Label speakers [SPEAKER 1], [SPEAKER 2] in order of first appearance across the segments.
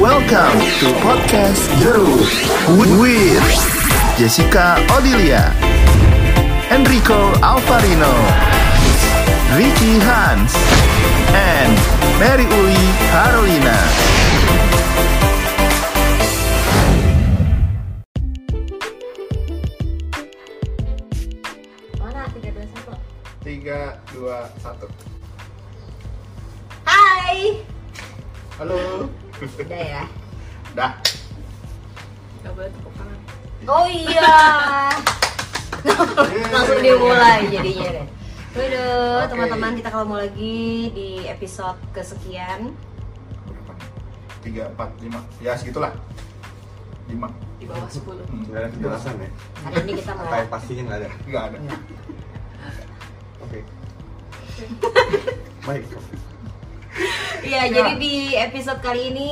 [SPEAKER 1] Welcome to podcast Jeruk with Jessica Odilia, Enrico Alvarino, Ricky Hans, and Mary Uli Carolina.
[SPEAKER 2] Mana tiga dua satu?
[SPEAKER 1] Tiga, dua, satu.
[SPEAKER 2] Hai.
[SPEAKER 1] Halo.
[SPEAKER 2] Udah ya.
[SPEAKER 1] Dah.
[SPEAKER 2] Oh iya. Langsung dimulai jadinya deh. Waduh,
[SPEAKER 1] Oke.
[SPEAKER 2] teman-teman kita kalau mau lagi di episode kesekian
[SPEAKER 1] Berapa? Tiga, empat, lima. Ya segitulah. Lima.
[SPEAKER 3] di bawah 10
[SPEAKER 1] Hmm,
[SPEAKER 4] Gak ada penjelasan ya?
[SPEAKER 2] hari ini kita mau
[SPEAKER 4] Kayak pastiin gak ada?
[SPEAKER 1] Nggak ada.
[SPEAKER 4] Oke Baik
[SPEAKER 1] Nah.
[SPEAKER 2] Iya, jadi di episode kali ini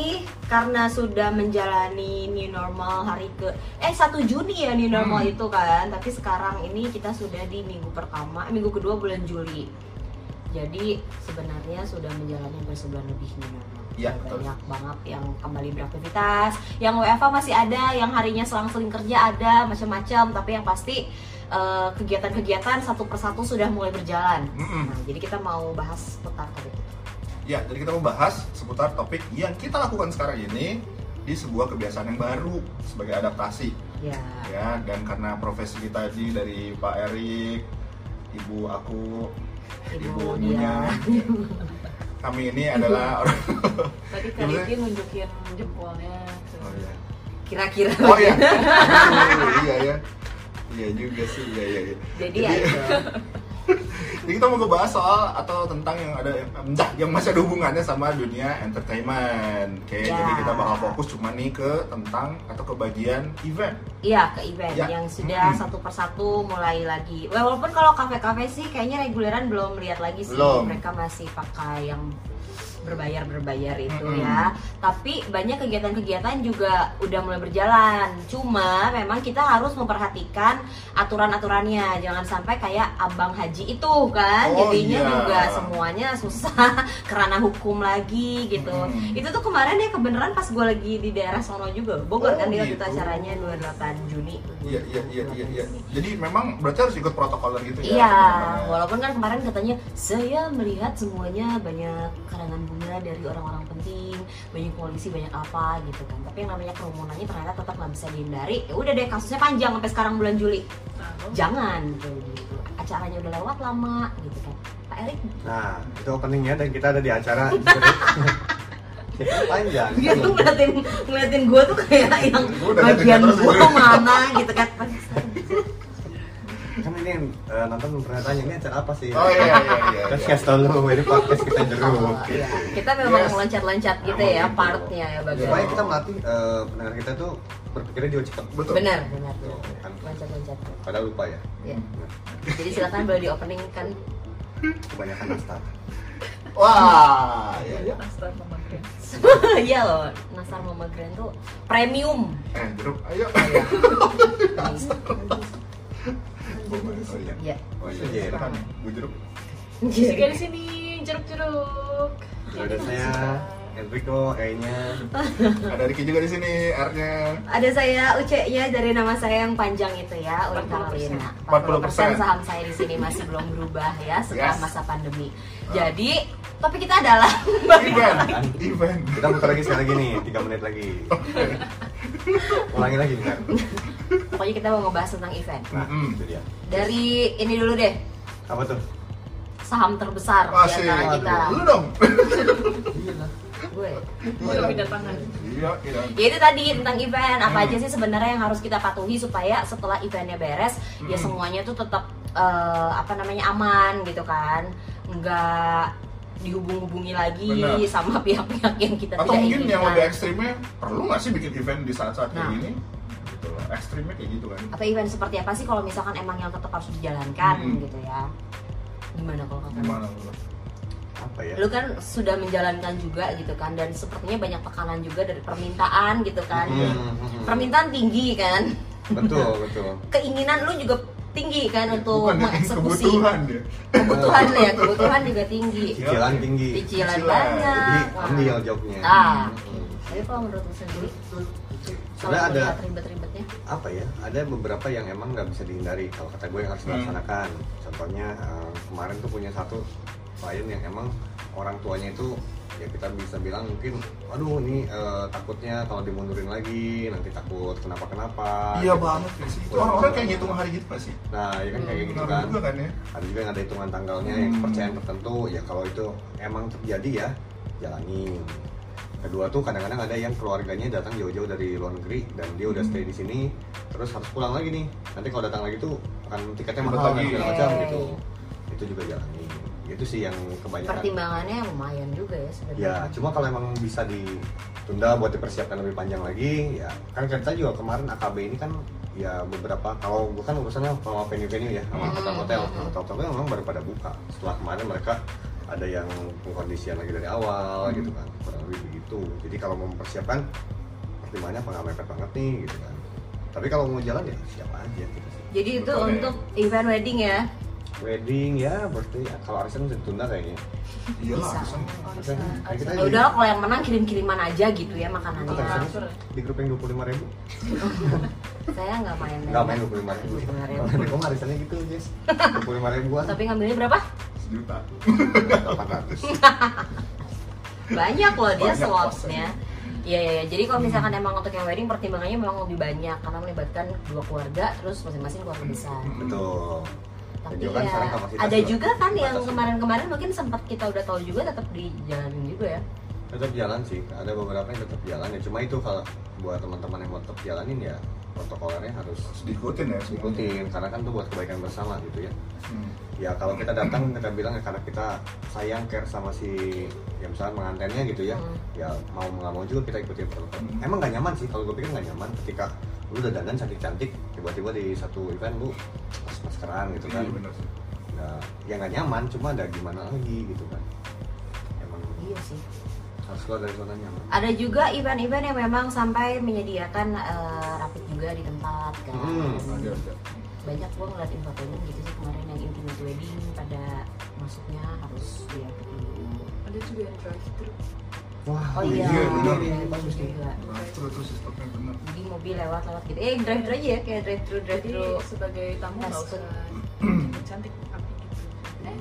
[SPEAKER 2] karena sudah menjalani new normal hari ke eh 1 Juni ya new normal
[SPEAKER 1] Hmm.
[SPEAKER 2] itu kan, tapi sekarang ini kita sudah di minggu pertama, eh, minggu kedua bulan Juli. Jadi sebenarnya sudah menjalani hampir sebulan lebih new normal.
[SPEAKER 1] Iya,
[SPEAKER 2] Sudah
[SPEAKER 1] betul.
[SPEAKER 2] banyak banget yang kembali beraktivitas, yang WFA masih ada, yang harinya selang-seling kerja ada, macam-macam, tapi yang pasti eh, kegiatan-kegiatan satu persatu sudah mulai berjalan.
[SPEAKER 1] Mm-mm.
[SPEAKER 2] Nah, jadi kita mau bahas putar tadi.
[SPEAKER 1] Ya, jadi kita membahas seputar topik yang kita lakukan sekarang ini di sebuah kebiasaan yang baru sebagai adaptasi.
[SPEAKER 2] Ya.
[SPEAKER 1] ya dan karena profesi kita ini dari Pak Erik ibu aku
[SPEAKER 2] Ibu
[SPEAKER 1] ibunya
[SPEAKER 3] Iya.
[SPEAKER 1] kami ini adalah orang
[SPEAKER 3] tadi
[SPEAKER 1] Yang
[SPEAKER 3] kali
[SPEAKER 1] bener.
[SPEAKER 3] ini nunjukin jempolnya ke-
[SPEAKER 1] oh iya
[SPEAKER 2] kira-kira
[SPEAKER 1] oh iya Aduh, iya ya iya juga sih iya iya iya.
[SPEAKER 2] jadi ya itu
[SPEAKER 1] jadi kita mau ngebahas soal atau tentang yang ada entah yang masih ada hubungannya sama dunia entertainment oke
[SPEAKER 2] Ya.
[SPEAKER 1] jadi kita bakal fokus cuma nih ke tentang atau ke bagian event
[SPEAKER 2] iya ke event
[SPEAKER 1] Ya.
[SPEAKER 2] yang sudah
[SPEAKER 1] Mm-mm.
[SPEAKER 2] satu persatu mulai lagi Well, walaupun kalau kafe-kafe sih kayaknya reguleran belum lihat lagi sih
[SPEAKER 1] Belum.
[SPEAKER 2] mereka masih pakai yang berbayar berbayar itu
[SPEAKER 1] Mm-mm.
[SPEAKER 2] ya tapi banyak kegiatan-kegiatan juga udah mulai berjalan cuma memang kita harus memperhatikan aturan-aturannya jangan sampai kayak abang haji itu kan
[SPEAKER 1] Oh,
[SPEAKER 2] jadinya
[SPEAKER 1] iya.
[SPEAKER 2] juga semuanya susah kerana hukum lagi gitu
[SPEAKER 1] Mm-mm.
[SPEAKER 2] itu tuh kemarin ya kebeneran pas gue lagi di daerah sono juga Bogor
[SPEAKER 1] Oh,
[SPEAKER 2] kan dia waktu
[SPEAKER 1] gitu.
[SPEAKER 2] itu acaranya 28 Juni
[SPEAKER 1] Iya, iya, iya, iya, iya. Jadi memang berarti harus ikut protokoler gitu ya?
[SPEAKER 2] Iya,
[SPEAKER 1] sebenarnya.
[SPEAKER 2] walaupun kan kemarin katanya saya melihat semuanya banyak karangan bunga dari orang-orang penting, banyak polisi, banyak apa gitu kan. Tapi yang namanya kerumunannya ternyata tetap nggak bisa dihindari. Ya udah deh kasusnya panjang sampai sekarang bulan Juli.
[SPEAKER 3] Tahu.
[SPEAKER 2] Jangan gitu, gitu. Acaranya udah lewat lama gitu kan. Pak Erik,
[SPEAKER 1] Iya.
[SPEAKER 4] Nah itu openingnya dan kita ada di acara Kita panjang
[SPEAKER 2] dia tuh ngeliatin ngeliatin gue tuh kayak yang
[SPEAKER 1] Gua udah ngeliatin
[SPEAKER 2] bagian
[SPEAKER 1] dia terus.
[SPEAKER 2] gue mana gitu kan.
[SPEAKER 4] Kan ini yang eh, nonton pernah tanya ini acara apa sih?
[SPEAKER 1] Oh iya, iya, iya, iya.
[SPEAKER 4] Terus kasih tau lu, ini podcast kita jeruk
[SPEAKER 2] Oh, iya. Kita memang
[SPEAKER 1] Yes.
[SPEAKER 2] loncat-loncat gitu
[SPEAKER 4] Emang
[SPEAKER 2] ya
[SPEAKER 4] gitu.
[SPEAKER 2] partnya ya
[SPEAKER 4] Supaya
[SPEAKER 2] bagaimana.
[SPEAKER 4] kita melatih eh, pendengar kita tuh berpikirnya juga cepet
[SPEAKER 1] Betul.
[SPEAKER 2] Benar, benar.
[SPEAKER 4] Tuh, kan.
[SPEAKER 2] Loncat-loncat.
[SPEAKER 4] Padahal lupa ya
[SPEAKER 2] Ya.
[SPEAKER 4] Nah,
[SPEAKER 2] Jadi silakan boleh di opening kan.
[SPEAKER 4] Kebanyakan nastar
[SPEAKER 1] Wah, iya, iya.
[SPEAKER 3] Nastar memakai
[SPEAKER 2] Iya loh, Nastar Mama Grand tuh premium.
[SPEAKER 1] Eh, jeruk, ayo.
[SPEAKER 2] iya.
[SPEAKER 1] iya. Oh iya.
[SPEAKER 2] Iya.
[SPEAKER 1] Oh iya, silakan. Bu jeruk.
[SPEAKER 3] Jessica Iya. di sini jeruk-jeruk
[SPEAKER 4] Ada saya Enrico, E-nya
[SPEAKER 1] Ada Ricky juga di sini, R-nya.
[SPEAKER 2] Ada saya UC-nya dari nama saya yang panjang itu ya, Uli Carolina.
[SPEAKER 1] 40%.
[SPEAKER 2] 40% saham saya di sini masih belum berubah ya setelah
[SPEAKER 1] Yes. Ah.
[SPEAKER 2] masa pandemi. Jadi, topik kita adalah
[SPEAKER 1] Event, event.
[SPEAKER 4] Kita putar lagi sekali lagi nih, 3 menit lagi. Ulangi lagi bentar.
[SPEAKER 2] pokoknya kita mau ngebahas tentang event.
[SPEAKER 4] Nah,
[SPEAKER 1] Mm.
[SPEAKER 4] itu dia.
[SPEAKER 2] Dari ini dulu deh,
[SPEAKER 4] Apa tuh?
[SPEAKER 2] saham terbesar
[SPEAKER 1] Asik.
[SPEAKER 2] di antara Iya, kita.
[SPEAKER 1] Lu dong.
[SPEAKER 2] Gue.
[SPEAKER 3] Baru pindah tangan
[SPEAKER 1] Iya, iya.
[SPEAKER 2] Ya itu tadi tentang event apa
[SPEAKER 1] Hmm.
[SPEAKER 2] aja sih sebenarnya yang harus kita patuhi supaya setelah eventnya beres ya
[SPEAKER 1] Hmm.
[SPEAKER 2] semuanya tuh tetap eh, apa namanya aman gitu kan nggak dihubung-hubungi lagi
[SPEAKER 1] Benar.
[SPEAKER 2] sama pihak-pihak yang kita tidak
[SPEAKER 1] Atau mungkin
[SPEAKER 2] inginkan
[SPEAKER 1] yang lebih ekstrimnya, perlu nggak sih bikin event di saat-saat kayak
[SPEAKER 2] kan. Nah.
[SPEAKER 1] gini? Gitu loh. Ekstrimnya kayak gitu kan.
[SPEAKER 2] atau event seperti apa sih kalau misalkan emang yang tetap harus dijalankan
[SPEAKER 1] Hmm.
[SPEAKER 2] gitu ya gimana kalau kata
[SPEAKER 1] Gimana lu?
[SPEAKER 4] Apa ya?
[SPEAKER 2] lu kan sudah menjalankan juga gitu kan dan sepertinya banyak tekanan juga dari permintaan gitu kan
[SPEAKER 4] Hmm,
[SPEAKER 2] permintaan tinggi kan
[SPEAKER 4] Betul, betul.
[SPEAKER 2] keinginan lu juga tinggi
[SPEAKER 4] Iya,
[SPEAKER 2] kan untuk
[SPEAKER 1] Bukan ya,
[SPEAKER 2] mengeksekusi
[SPEAKER 1] kebutuhan ya.
[SPEAKER 2] kebutuhan ya kebutuhan juga tinggi
[SPEAKER 4] Cicilan tinggi.
[SPEAKER 2] cicilan
[SPEAKER 1] Cicilan.
[SPEAKER 2] banyak
[SPEAKER 4] Jadi
[SPEAKER 2] Wah.
[SPEAKER 4] ambil jobnya.
[SPEAKER 2] Ah.
[SPEAKER 4] Hmm.
[SPEAKER 2] Tapi kalau menurut lu sendiri, kalau
[SPEAKER 4] Sebenarnya ada-
[SPEAKER 2] melihat ribet-ribetnya,
[SPEAKER 4] apa ya ada beberapa yang emang nggak bisa dihindari kalau kata gue yang harus
[SPEAKER 1] Hmm.
[SPEAKER 4] dilaksanakan contohnya eh, kemarin tuh punya satu klien yang emang orang tuanya itu ya kita bisa bilang mungkin aduh ini eh, takutnya kalau dimundurin lagi nanti takut kenapa kenapa
[SPEAKER 1] Iya banget Chris. Itu orang-orang kayak ngitung hari gitu pasti.
[SPEAKER 4] nah ya kan kayak gitu
[SPEAKER 1] Benar
[SPEAKER 4] kan
[SPEAKER 1] juga kan ya.
[SPEAKER 4] ada juga yang ada hitungan tanggalnya yang
[SPEAKER 1] Hmm.
[SPEAKER 4] percayaan tertentu ya kalau itu emang terjadi ya jalani kedua tuh kadang-kadang ada yang keluarganya datang jauh-jauh dari luar negeri dan dia
[SPEAKER 1] Hmm.
[SPEAKER 4] udah stay di sini terus harus pulang lagi nih nanti kalau datang lagi tuh akan tiketnya
[SPEAKER 1] Ribet
[SPEAKER 4] mahal dan
[SPEAKER 1] lagi. Iya,
[SPEAKER 4] segala macam
[SPEAKER 2] Oke.
[SPEAKER 4] gitu itu juga jalani itu sih yang kebanyakan
[SPEAKER 2] pertimbangannya lumayan juga ya sebenarnya.
[SPEAKER 4] ya cuma kalau emang bisa ditunda buat dipersiapkan lebih panjang lagi ya kan kita juga kemarin AKB ini kan ya beberapa kalau bukan urusannya sama venue-venue ya sama
[SPEAKER 2] Hmm.
[SPEAKER 4] hotel-hotel hotel-hotelnya memang baru pada buka setelah kemarin mereka ada yang pengkondisian lagi dari awal
[SPEAKER 1] Hmm.
[SPEAKER 4] gitu kan kurang lebih begitu jadi kalau mau mempersiapkan pertimbangannya apa nggak mepet banget nih gitu kan tapi kalau mau jalan ya siap aja gitu sih
[SPEAKER 2] Jadi itu
[SPEAKER 1] Betul ya.
[SPEAKER 2] untuk event wedding ya.
[SPEAKER 4] wedding ya birthday ya. kalau arisan bisa ditunda kayaknya
[SPEAKER 1] Iya lah.
[SPEAKER 2] Bisa.
[SPEAKER 1] alasan.
[SPEAKER 4] Arisan, kayak kita
[SPEAKER 2] Ya udah kalau yang menang kirim-kiriman aja gitu ya
[SPEAKER 4] ikut
[SPEAKER 2] makanannya.
[SPEAKER 4] arisan
[SPEAKER 3] Langsung.
[SPEAKER 4] di grup yang 25.000 ribu
[SPEAKER 2] Saya nggak main. ya.
[SPEAKER 4] Enggak main 25 ribu
[SPEAKER 2] Kemarin.
[SPEAKER 4] Kok marisannya gitu guys 25 ribuan
[SPEAKER 2] Tapi ngambilnya berapa?
[SPEAKER 1] Sejuta.
[SPEAKER 4] 800
[SPEAKER 2] Banyak loh dia
[SPEAKER 1] Banyak
[SPEAKER 2] slotnya. Iya iya iya. Jadi kalau misalkan emang untuk yang wedding pertimbangannya memang lebih banyak karena melibatkan dua keluarga terus masing-masing keluarga besar.
[SPEAKER 4] Betul Dan
[SPEAKER 2] Tapi
[SPEAKER 4] juga kan
[SPEAKER 2] ya
[SPEAKER 4] sekarang kapasitas
[SPEAKER 2] ada juga kan yang
[SPEAKER 4] terbatas.
[SPEAKER 2] kemarin-kemarin mungkin sempat kita udah tahu juga tetap dijalanin juga ya.
[SPEAKER 4] Tetap jalan sih Ada beberapa yang tetap jalan ya Cuma itu kalau buat teman-teman yang mau tetap jalanin ya Protokolernya harus
[SPEAKER 1] Harus diikutin ya semua.
[SPEAKER 4] ikutin Karena kan itu buat kebaikan bersama gitu ya
[SPEAKER 1] Hmm.
[SPEAKER 4] Ya kalau kita datang kita bilang ya karena kita sayang care sama si Ya misalnya pengantinnya gitu ya
[SPEAKER 2] Hmm.
[SPEAKER 4] Ya mau nggak mau juga kita ikutin protokol
[SPEAKER 1] Hmm.
[SPEAKER 4] Emang nggak nyaman sih kalau gue pikir nggak nyaman ketika lu udah dandan cantik-cantik tiba-tiba di satu event lu maskeran gitu kan
[SPEAKER 1] Iya benar sih.
[SPEAKER 4] nah, ya nggak nyaman cuma ada gimana lagi gitu kan emang
[SPEAKER 2] Iya sih.
[SPEAKER 4] harus keluar dari zona nyaman
[SPEAKER 2] Ada juga event-event yang memang sampai menyediakan eh, rapid juga di tempat kan.
[SPEAKER 4] Hmm,
[SPEAKER 1] Ada ada.
[SPEAKER 2] Banyak gua ngeliatin fotonya gitu sih kemarin yang intimate wedding pada masuknya harus di rapid dulu.
[SPEAKER 3] Ada juga yang drive thru.
[SPEAKER 4] wah
[SPEAKER 2] Oh iya,
[SPEAKER 1] iya, benar.
[SPEAKER 2] iya, bagus juga.
[SPEAKER 1] Nah, terus terus sistemnya benar.
[SPEAKER 2] Jadi mobil lewat lewat gitu. Eh drive thru aja ya kayak drive thru drive
[SPEAKER 3] Jadi
[SPEAKER 2] thru.
[SPEAKER 1] Iya.
[SPEAKER 3] sebagai tamu nggak
[SPEAKER 2] Masuk.
[SPEAKER 3] usah cantik tapi gitu. Eh,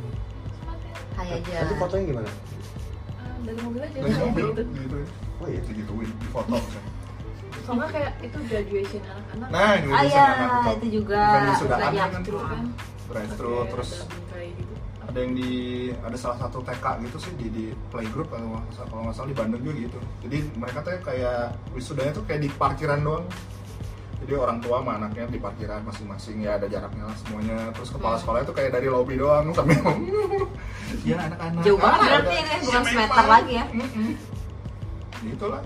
[SPEAKER 3] selamat ya.
[SPEAKER 2] Hai aja.
[SPEAKER 4] tapi fotonya gimana
[SPEAKER 3] Ah, Dari mobil aja.
[SPEAKER 1] Dari mobil
[SPEAKER 3] Gitu.
[SPEAKER 1] gitu ya.
[SPEAKER 4] oh
[SPEAKER 1] Oh iya
[SPEAKER 4] iya
[SPEAKER 1] itu gituin di foto. kan.
[SPEAKER 3] Sama kayak itu graduation anak-anak.
[SPEAKER 1] Nah, ini
[SPEAKER 2] Ah
[SPEAKER 1] udah
[SPEAKER 2] ya,
[SPEAKER 1] sana, kan,
[SPEAKER 2] itu juga
[SPEAKER 1] Eventnya sudah ada
[SPEAKER 2] banyak.
[SPEAKER 1] kan.
[SPEAKER 3] Drive-thru kan.
[SPEAKER 1] drive thru
[SPEAKER 3] Pakai
[SPEAKER 1] terus
[SPEAKER 3] ada bingkai gitu.
[SPEAKER 1] ada yang di ada salah satu TK gitu sih di, di playgroup kalau nggak salah- kalau nggak salah di Bandung juga gitu jadi mereka tuh kayak wisudanya tuh kayak di parkiran doang jadi orang tua sama anaknya di parkiran masing-masing ya ada jaraknya lah semuanya terus kepala sekolahnya tuh kayak dari lobby doang sampai ngomong Hmm. ya anak-anak
[SPEAKER 2] Jauh banget
[SPEAKER 1] Ah,
[SPEAKER 2] berarti
[SPEAKER 1] ada-
[SPEAKER 2] ini, bukan
[SPEAKER 1] Iya,
[SPEAKER 2] semeter
[SPEAKER 1] memang.
[SPEAKER 2] lagi ya.
[SPEAKER 1] Mm-mm. gitu lah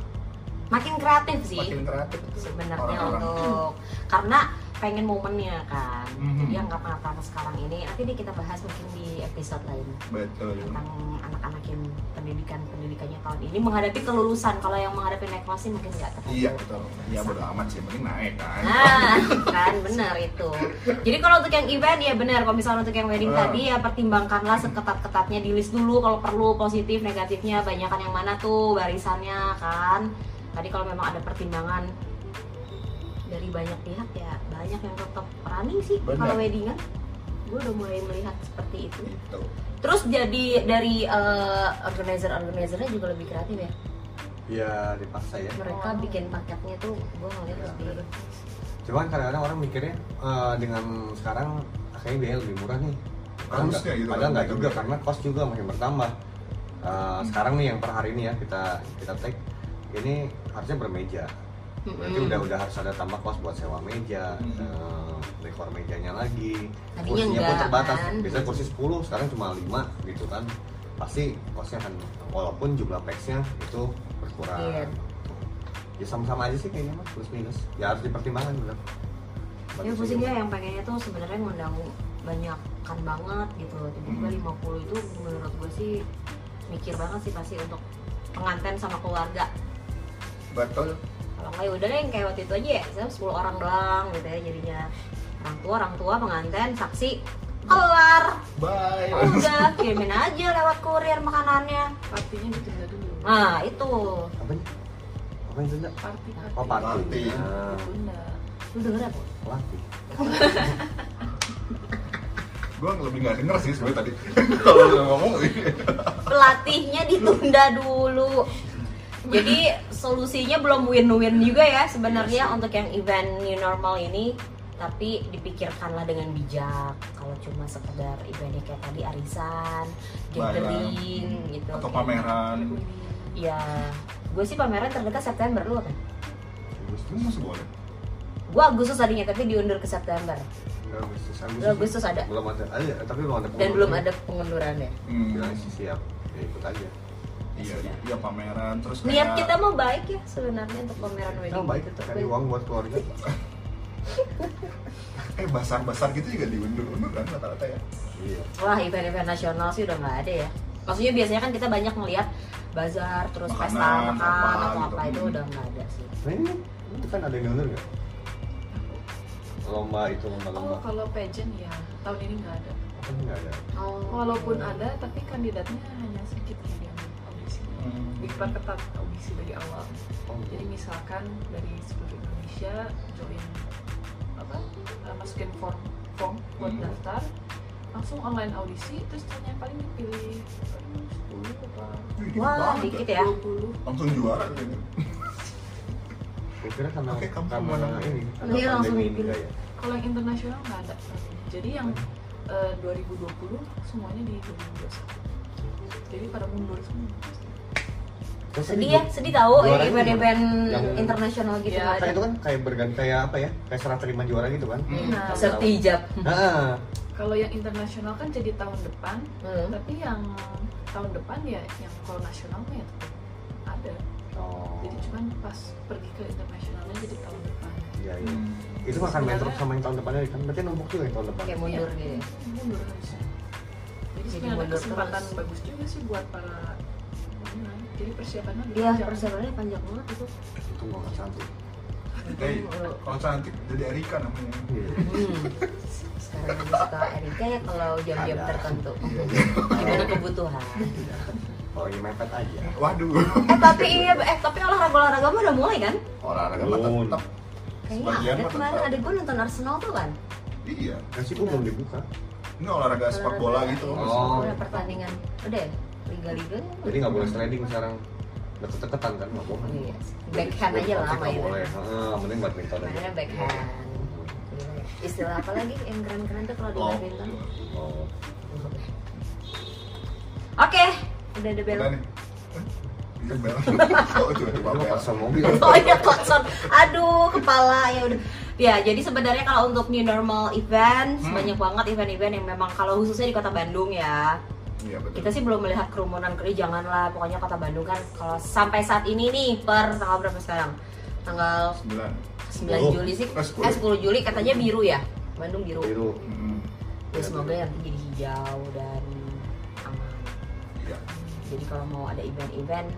[SPEAKER 2] Makin kreatif sih.
[SPEAKER 1] makin kreatif
[SPEAKER 2] sebenarnya
[SPEAKER 1] orang-orang
[SPEAKER 2] untuk karena pengen momennya kan
[SPEAKER 1] Mhm.
[SPEAKER 2] jadi yang nggak pernah sekarang ini nanti nih kita bahas mungkin di episode lain
[SPEAKER 1] betul
[SPEAKER 2] tentang anak-anak yang pendidikan pendidikannya tahun ini menghadapi kelulusan kalau yang menghadapi naik kelas sih mungkin nggak terlalu
[SPEAKER 1] iya betul ya bodo amat sih mending naik kan
[SPEAKER 2] Nah, kan benar itu. Jadi kalau untuk yang event ya benar, kalau misalnya untuk yang wedding
[SPEAKER 1] Ah.
[SPEAKER 2] tadi ya pertimbangkanlah seketat-ketatnya di list dulu kalau perlu positif negatifnya banyakan yang mana tuh barisannya kan. Tadi kalau memang ada pertimbangan dari banyak pihak ya banyak yang tetap running sih
[SPEAKER 1] Benar.
[SPEAKER 2] kalau weddingan. Gue udah mulai melihat seperti itu.
[SPEAKER 1] gitu
[SPEAKER 2] Terus jadi dari eh, organizer-organizernya juga lebih kreatif ya.
[SPEAKER 4] ya dipaksa ya
[SPEAKER 2] Mereka bikin paketnya tuh gue ngeliat
[SPEAKER 4] Ya,
[SPEAKER 2] lebih
[SPEAKER 4] benar. cuman kadang-kadang orang mikirnya eh, dengan sekarang akhirnya biaya lebih murah nih Padahal
[SPEAKER 1] Harusnya
[SPEAKER 4] nggak-
[SPEAKER 1] gitu kan,
[SPEAKER 4] padahal nggak
[SPEAKER 1] gitu
[SPEAKER 4] juga
[SPEAKER 1] kan.
[SPEAKER 4] karena cost juga makin bertambah Eh, sekarang nih yang per hari ini ya kita kita take ini harusnya bermeja berarti
[SPEAKER 2] Mm-mm.
[SPEAKER 4] udah udah harus ada tambah kos buat sewa meja
[SPEAKER 1] Hmm.
[SPEAKER 4] eh, dekor mejanya lagi
[SPEAKER 2] Tadinya
[SPEAKER 4] kursinya pun
[SPEAKER 2] enggak,
[SPEAKER 4] terbatas
[SPEAKER 2] kan?
[SPEAKER 4] biasanya kursi 10 sekarang cuma 5 gitu kan pasti kosnya akan walaupun jumlah packsnya itu berkurang
[SPEAKER 2] Iya.
[SPEAKER 4] ya sama-sama aja sih kayaknya mas plus minus ya harus dipertimbangkan bener
[SPEAKER 2] Ya pusingnya yang pengennya tuh sebenarnya ngundang banyak kan banget gitu. Tiba-tiba
[SPEAKER 1] Hmm.
[SPEAKER 2] 50 itu menurut gue sih mikir banget sih pasti untuk pengantin sama keluarga.
[SPEAKER 1] betul
[SPEAKER 2] Kalau nggak ya udah deh yang kayak waktu itu aja ya, saya 10 orang doang gitu ya jadinya. Orang tua, orang tua, pengantin, saksi, kelar,
[SPEAKER 1] bye
[SPEAKER 2] udah kirimin aja lewat kurir makanannya.
[SPEAKER 3] Ah. Partinya ditunda dulu.
[SPEAKER 2] Nah itu
[SPEAKER 4] apa nih apa yang Sunda?
[SPEAKER 3] Party
[SPEAKER 4] Oh
[SPEAKER 3] party.
[SPEAKER 4] party.
[SPEAKER 1] Party.
[SPEAKER 4] Nah,
[SPEAKER 3] Sunda.
[SPEAKER 2] Lu denger apa?
[SPEAKER 4] party.
[SPEAKER 1] Gue lebih nggak denger sih sebenarnya tadi kalau lu ngomong
[SPEAKER 2] Pelatihnya ditunda
[SPEAKER 4] Hmm.
[SPEAKER 2] dulu. Jadi solusinya belum win-win juga ya sebenarnya untuk yang event new normal ini tapi dipikirkanlah dengan bijak kalau cuma sekedar eventnya kayak tadi arisan, gathering gitu
[SPEAKER 1] atau pameran
[SPEAKER 2] ya gue sih pameran terdekat September lu kan?
[SPEAKER 1] Agustus masih boleh
[SPEAKER 2] Gue Agustus tadinya tapi diundur ke September
[SPEAKER 4] Bulan Agustus. Agustus.
[SPEAKER 2] Bulan Agustus ada.
[SPEAKER 4] Belum ada. Ada, tapi belum ada.
[SPEAKER 2] dan belum
[SPEAKER 4] pengumuman.
[SPEAKER 2] ada pengundurannya.
[SPEAKER 1] hmm.
[SPEAKER 4] Bilang sih siap. Ya ikut aja.
[SPEAKER 1] iya iya, iya pameran terus kayak
[SPEAKER 2] Niat kita mau baik ya sebenarnya untuk pameran
[SPEAKER 4] Kita
[SPEAKER 2] wedding. gitu,
[SPEAKER 4] baik kita cari uang buat keluarga.
[SPEAKER 1] eh basar-basar gitu juga diundur-undur kan rata-rata ya
[SPEAKER 4] Iya.
[SPEAKER 2] Wah event-event nasional sih udah nggak ada ya. Maksudnya biasanya kan kita banyak melihat bazar terus
[SPEAKER 1] Makanan,
[SPEAKER 2] pesta makan
[SPEAKER 1] apa
[SPEAKER 2] atau apa
[SPEAKER 1] gitu.
[SPEAKER 2] itu udah nggak ada sih.
[SPEAKER 4] Nah ini itu kan ada yang diundur nggak? Lomba itu
[SPEAKER 3] Oh
[SPEAKER 4] lomba-lomba.
[SPEAKER 3] kalau pageant ya tahun ini nggak ada.
[SPEAKER 4] Kan nggak ada.
[SPEAKER 2] Oh.
[SPEAKER 3] Walaupun ada tapi kandidatnya hanya sedikit yang diambil audisi.
[SPEAKER 1] Hmm.
[SPEAKER 3] Diperketat audisi dari awal.
[SPEAKER 4] Oh,
[SPEAKER 3] Jadi misalkan dari seluruh Indonesia join apa eh, masukin form form buat
[SPEAKER 1] Hmm.
[SPEAKER 3] daftar langsung online audisi terus ternyata paling dipilih eh, 10 apa
[SPEAKER 1] Wih, dikit
[SPEAKER 2] Wah
[SPEAKER 1] banget
[SPEAKER 2] dikit
[SPEAKER 1] ya.
[SPEAKER 2] ya.
[SPEAKER 3] 20
[SPEAKER 1] langsung juara gitu
[SPEAKER 4] Gue kira karena
[SPEAKER 1] Oke, kamu
[SPEAKER 4] karena
[SPEAKER 1] kemana?
[SPEAKER 4] ini. karena
[SPEAKER 2] Iya, langsung
[SPEAKER 4] pandemi ini
[SPEAKER 2] dipilih.
[SPEAKER 4] nggak ya.
[SPEAKER 3] kalau yang internasional nggak ada jadi yang eh, 2020 semuanya di 2021 jadi pada mundur semua
[SPEAKER 4] Terus
[SPEAKER 2] Sedih
[SPEAKER 4] tadi
[SPEAKER 2] ya,
[SPEAKER 4] gua-
[SPEAKER 2] sedih tahu
[SPEAKER 4] juara
[SPEAKER 2] ya, event-event
[SPEAKER 4] yang-
[SPEAKER 2] internasional gitu
[SPEAKER 3] Iya,
[SPEAKER 2] nggak
[SPEAKER 4] kan
[SPEAKER 2] ada.
[SPEAKER 4] itu kan kayak berganti kayak apa ya kayak serah terima juara gitu kan
[SPEAKER 1] Hmm.
[SPEAKER 3] Nah,
[SPEAKER 2] Seperti hijab.
[SPEAKER 4] nah
[SPEAKER 3] kalau yang internasional kan jadi tahun depan
[SPEAKER 2] Hmm.
[SPEAKER 3] tapi yang tahun depan ya yang kalau nasionalnya ya tetap ada
[SPEAKER 4] oh
[SPEAKER 3] jadi cuman pas pergi ke internasionalnya jadi tahun depan
[SPEAKER 4] iya iya
[SPEAKER 1] Hmm.
[SPEAKER 4] itu makan mentor sama yang tahun depannya kan berarti numpuk juga yang tahun depan
[SPEAKER 2] Kayak mundur gitu. ya.
[SPEAKER 3] mundur harusnya jadi
[SPEAKER 2] Jadi
[SPEAKER 3] sebenarnya ada
[SPEAKER 2] mundur
[SPEAKER 3] kesempatan
[SPEAKER 2] terus.
[SPEAKER 3] bagus juga sih buat para pemain. jadi persiapannya
[SPEAKER 2] Iya
[SPEAKER 3] panjang.
[SPEAKER 2] persiapannya panjang banget itu.
[SPEAKER 4] itu gua nggak cantik
[SPEAKER 1] Eh, kalau cantik jadi Erika namanya
[SPEAKER 4] Iya.
[SPEAKER 2] Hmm. Sekarang lebih suka Erika ya kalau jam-jam
[SPEAKER 4] Ada.
[SPEAKER 2] tertentu.
[SPEAKER 1] Iya, iya.
[SPEAKER 2] Gimana kebutuhan?
[SPEAKER 4] kalau yang mepet aja
[SPEAKER 1] waduh
[SPEAKER 2] Eh tapi iya, eh tapi olahraga olahraga mah udah mulai kan?
[SPEAKER 1] olahraga mah
[SPEAKER 4] Nun.
[SPEAKER 1] tetap
[SPEAKER 2] Kayaknya
[SPEAKER 1] Sebagian
[SPEAKER 2] ada
[SPEAKER 1] mah
[SPEAKER 2] kemarin
[SPEAKER 1] tetap.
[SPEAKER 2] ada gue nonton Arsenal tuh kan?
[SPEAKER 1] iya
[SPEAKER 4] nasi gua belum Kan dibuka
[SPEAKER 1] ini olahraga sepak bola gitu
[SPEAKER 4] Oh.
[SPEAKER 2] iya. Udah pertandingan. Udah ya? Liga-liga.
[SPEAKER 4] jadi nggak boleh trading sekarang deket-deketan kan nggak boleh
[SPEAKER 2] Iya. Backhand aja lah
[SPEAKER 4] nggak
[SPEAKER 2] mainnya.
[SPEAKER 4] boleh ah mending badminton aja
[SPEAKER 2] Mainnya backhand. Gila ya. Istilah apa lagi yang keren-keren tuh kalau di
[SPEAKER 1] Oh,
[SPEAKER 2] badminton?
[SPEAKER 4] oh
[SPEAKER 2] Oke, udah ada bel.
[SPEAKER 1] udah nih Eh, iya, Bel. Oh, itu
[SPEAKER 4] itu
[SPEAKER 1] itu
[SPEAKER 4] mah
[SPEAKER 1] apa
[SPEAKER 4] paksa mobil
[SPEAKER 2] Oh iya klakson. Aduh, kepala ya udah. Ya, jadi sebenarnya kalau untuk new normal event,
[SPEAKER 1] Hmm.
[SPEAKER 2] banyak banget event-event yang memang kalau khususnya di kota Bandung ya,
[SPEAKER 1] Iya betul.
[SPEAKER 2] kita sih belum melihat kerumunan kali janganlah pokoknya kota Bandung kan kalau sampai saat ini nih per tanggal berapa sekarang tanggal
[SPEAKER 1] sembilan.
[SPEAKER 2] 9 Juli sih
[SPEAKER 1] Eh, 10.
[SPEAKER 2] eh 10 Juli katanya biru ya Bandung biru
[SPEAKER 4] biru
[SPEAKER 1] Hmm,
[SPEAKER 2] ya semoga nanti jadi hijau dan aman
[SPEAKER 1] Iya.
[SPEAKER 2] jadi kalau mau ada event-event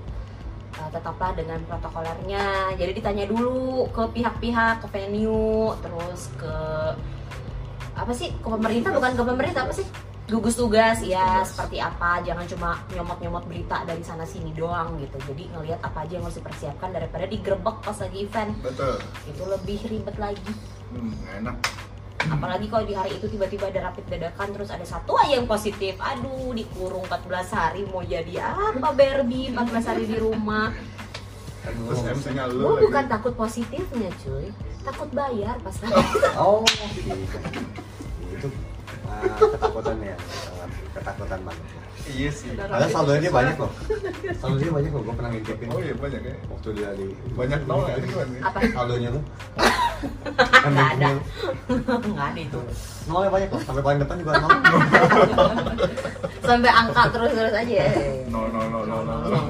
[SPEAKER 2] eh, tetaplah dengan protokolernya jadi ditanya dulu ke pihak-pihak ke venue terus ke apa sih ke pemerintah bukan ke pemerintah apa sih gugus tugas ya
[SPEAKER 1] Tugas.
[SPEAKER 2] seperti apa jangan cuma nyomot-nyomot berita dari sana sini doang gitu jadi ngelihat apa aja yang harus dipersiapkan daripada digerebek pas lagi event
[SPEAKER 1] Betul.
[SPEAKER 2] itu lebih ribet lagi
[SPEAKER 1] Hmm, nggak enak.
[SPEAKER 2] apalagi kalau di hari itu tiba-tiba ada rapid dadakan terus ada satu aja yang positif aduh dikurung 14 hari mau jadi apa Barbie 14 hari di rumah
[SPEAKER 4] Oh.
[SPEAKER 1] Terus MC-nya
[SPEAKER 2] gue Oh,
[SPEAKER 1] lu.
[SPEAKER 2] bukan takut positifnya cuy takut bayar pas lagi
[SPEAKER 4] Oh, gitu. Itu ah, ketakutan ya, sangat ketakutan banget.
[SPEAKER 1] Iya sih.
[SPEAKER 4] Padahal saldonya dia banyak loh. Saldonya dia banyak loh, gue pernah ngintipin
[SPEAKER 1] Oh iya banyak ya.
[SPEAKER 4] waktu dia di
[SPEAKER 1] Banyak nol nggak sih kan?
[SPEAKER 2] apa
[SPEAKER 4] saldonya tuh.
[SPEAKER 2] nggak ada nggak ada itu
[SPEAKER 4] Nolnya banyak loh, sampai paling depan juga nol.
[SPEAKER 2] sampai angka terus terus aja ya.
[SPEAKER 1] Nol nol nol nol nol.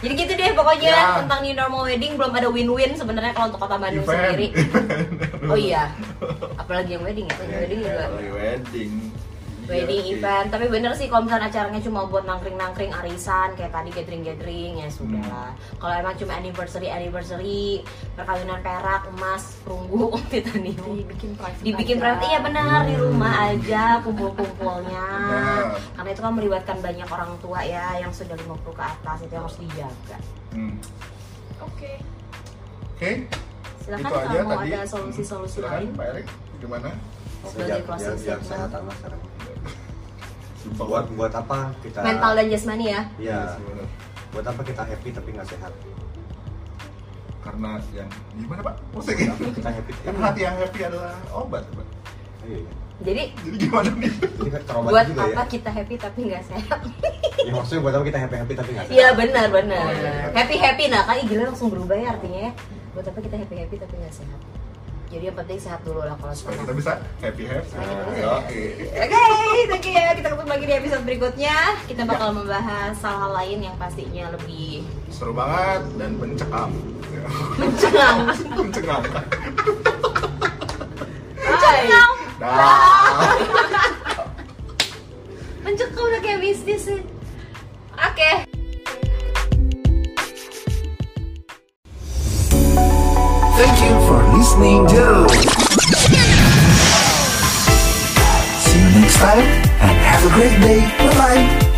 [SPEAKER 2] jadi gitu deh pokoknya
[SPEAKER 1] Ya.
[SPEAKER 2] tentang new normal wedding belum ada win-win sebenarnya kalau untuk kota Bandung
[SPEAKER 1] Event.
[SPEAKER 2] sendiri oh iya apalagi yang wedding ya yang wedding juga
[SPEAKER 1] Dari wedding. Iya,
[SPEAKER 2] wedding
[SPEAKER 1] oke.
[SPEAKER 2] event tapi bener sih kalau misalnya acaranya cuma buat nangkring nangkring arisan kayak tadi gathering gathering ya sudah
[SPEAKER 1] Hmm.
[SPEAKER 2] lah kalau emang cuma anniversary anniversary perkawinan perak emas perunggu titanium
[SPEAKER 3] dibikin private
[SPEAKER 2] dibikin
[SPEAKER 3] Iya, aja.
[SPEAKER 2] private iya benar di
[SPEAKER 1] Hmm.
[SPEAKER 2] rumah aja kumpul-kumpulnya
[SPEAKER 1] Benar.
[SPEAKER 2] karena itu kan melibatkan banyak orang tua ya yang sudah 50 ke atas itu yang harus dijaga
[SPEAKER 1] Hmm.
[SPEAKER 3] Oke.
[SPEAKER 1] Oke,
[SPEAKER 2] Silakan
[SPEAKER 1] itu aja
[SPEAKER 2] kalau mau
[SPEAKER 1] tadi.
[SPEAKER 2] ada solusi-solusi
[SPEAKER 1] Silakan,
[SPEAKER 2] lain. Oh,
[SPEAKER 1] Pak Erik, gimana?
[SPEAKER 4] Oke,
[SPEAKER 2] Sebagai
[SPEAKER 4] jam, jam,
[SPEAKER 2] closing
[SPEAKER 4] jam
[SPEAKER 2] statement.
[SPEAKER 4] setengah tanah sekarang. Buat buat apa kita?
[SPEAKER 2] Mental dan jasmani ya.
[SPEAKER 1] Iya,
[SPEAKER 4] Iya.
[SPEAKER 1] sebenarnya.
[SPEAKER 4] Buat apa kita happy tapi nggak sehat?
[SPEAKER 1] Karena yang gimana Pak?
[SPEAKER 4] Buat
[SPEAKER 1] Maksudnya
[SPEAKER 4] apa kita happy?
[SPEAKER 1] kan hati yang happy adalah obat, Pak.
[SPEAKER 4] Iya, iya.
[SPEAKER 2] Jadi
[SPEAKER 1] Jadi gimana nih?
[SPEAKER 4] Ini kan terobati
[SPEAKER 2] buat
[SPEAKER 4] juga
[SPEAKER 2] apa
[SPEAKER 4] ya.
[SPEAKER 2] kita happy tapi nggak sehat?
[SPEAKER 4] Ya maksudnya buat apa kita happy happy tapi nggak sehat?
[SPEAKER 2] Iya benar benar.
[SPEAKER 1] Oh, iya, iya.
[SPEAKER 2] Happy happy nah kan ih, gila langsung berubah ya artinya ya. Buat apa kita happy happy tapi nggak sehat? Jadi yang penting sehat dulu lah kalau
[SPEAKER 1] Supaya
[SPEAKER 2] sehat.
[SPEAKER 1] kita bisa happy happy. Oke.
[SPEAKER 2] Oke, thank you ya. Kita ketemu lagi di episode berikutnya. Kita bakal membahas hal-hal lain yang pastinya lebih
[SPEAKER 1] Seru banget dan mencekam. Ya,
[SPEAKER 2] mencengang.
[SPEAKER 1] mencengam.
[SPEAKER 2] Mencengang.
[SPEAKER 1] Dah.
[SPEAKER 2] Mencekam udah kayak bisnis ya. sih. Oke.
[SPEAKER 5] Thank you for listening to. See you next time and have a great day. Bye bye.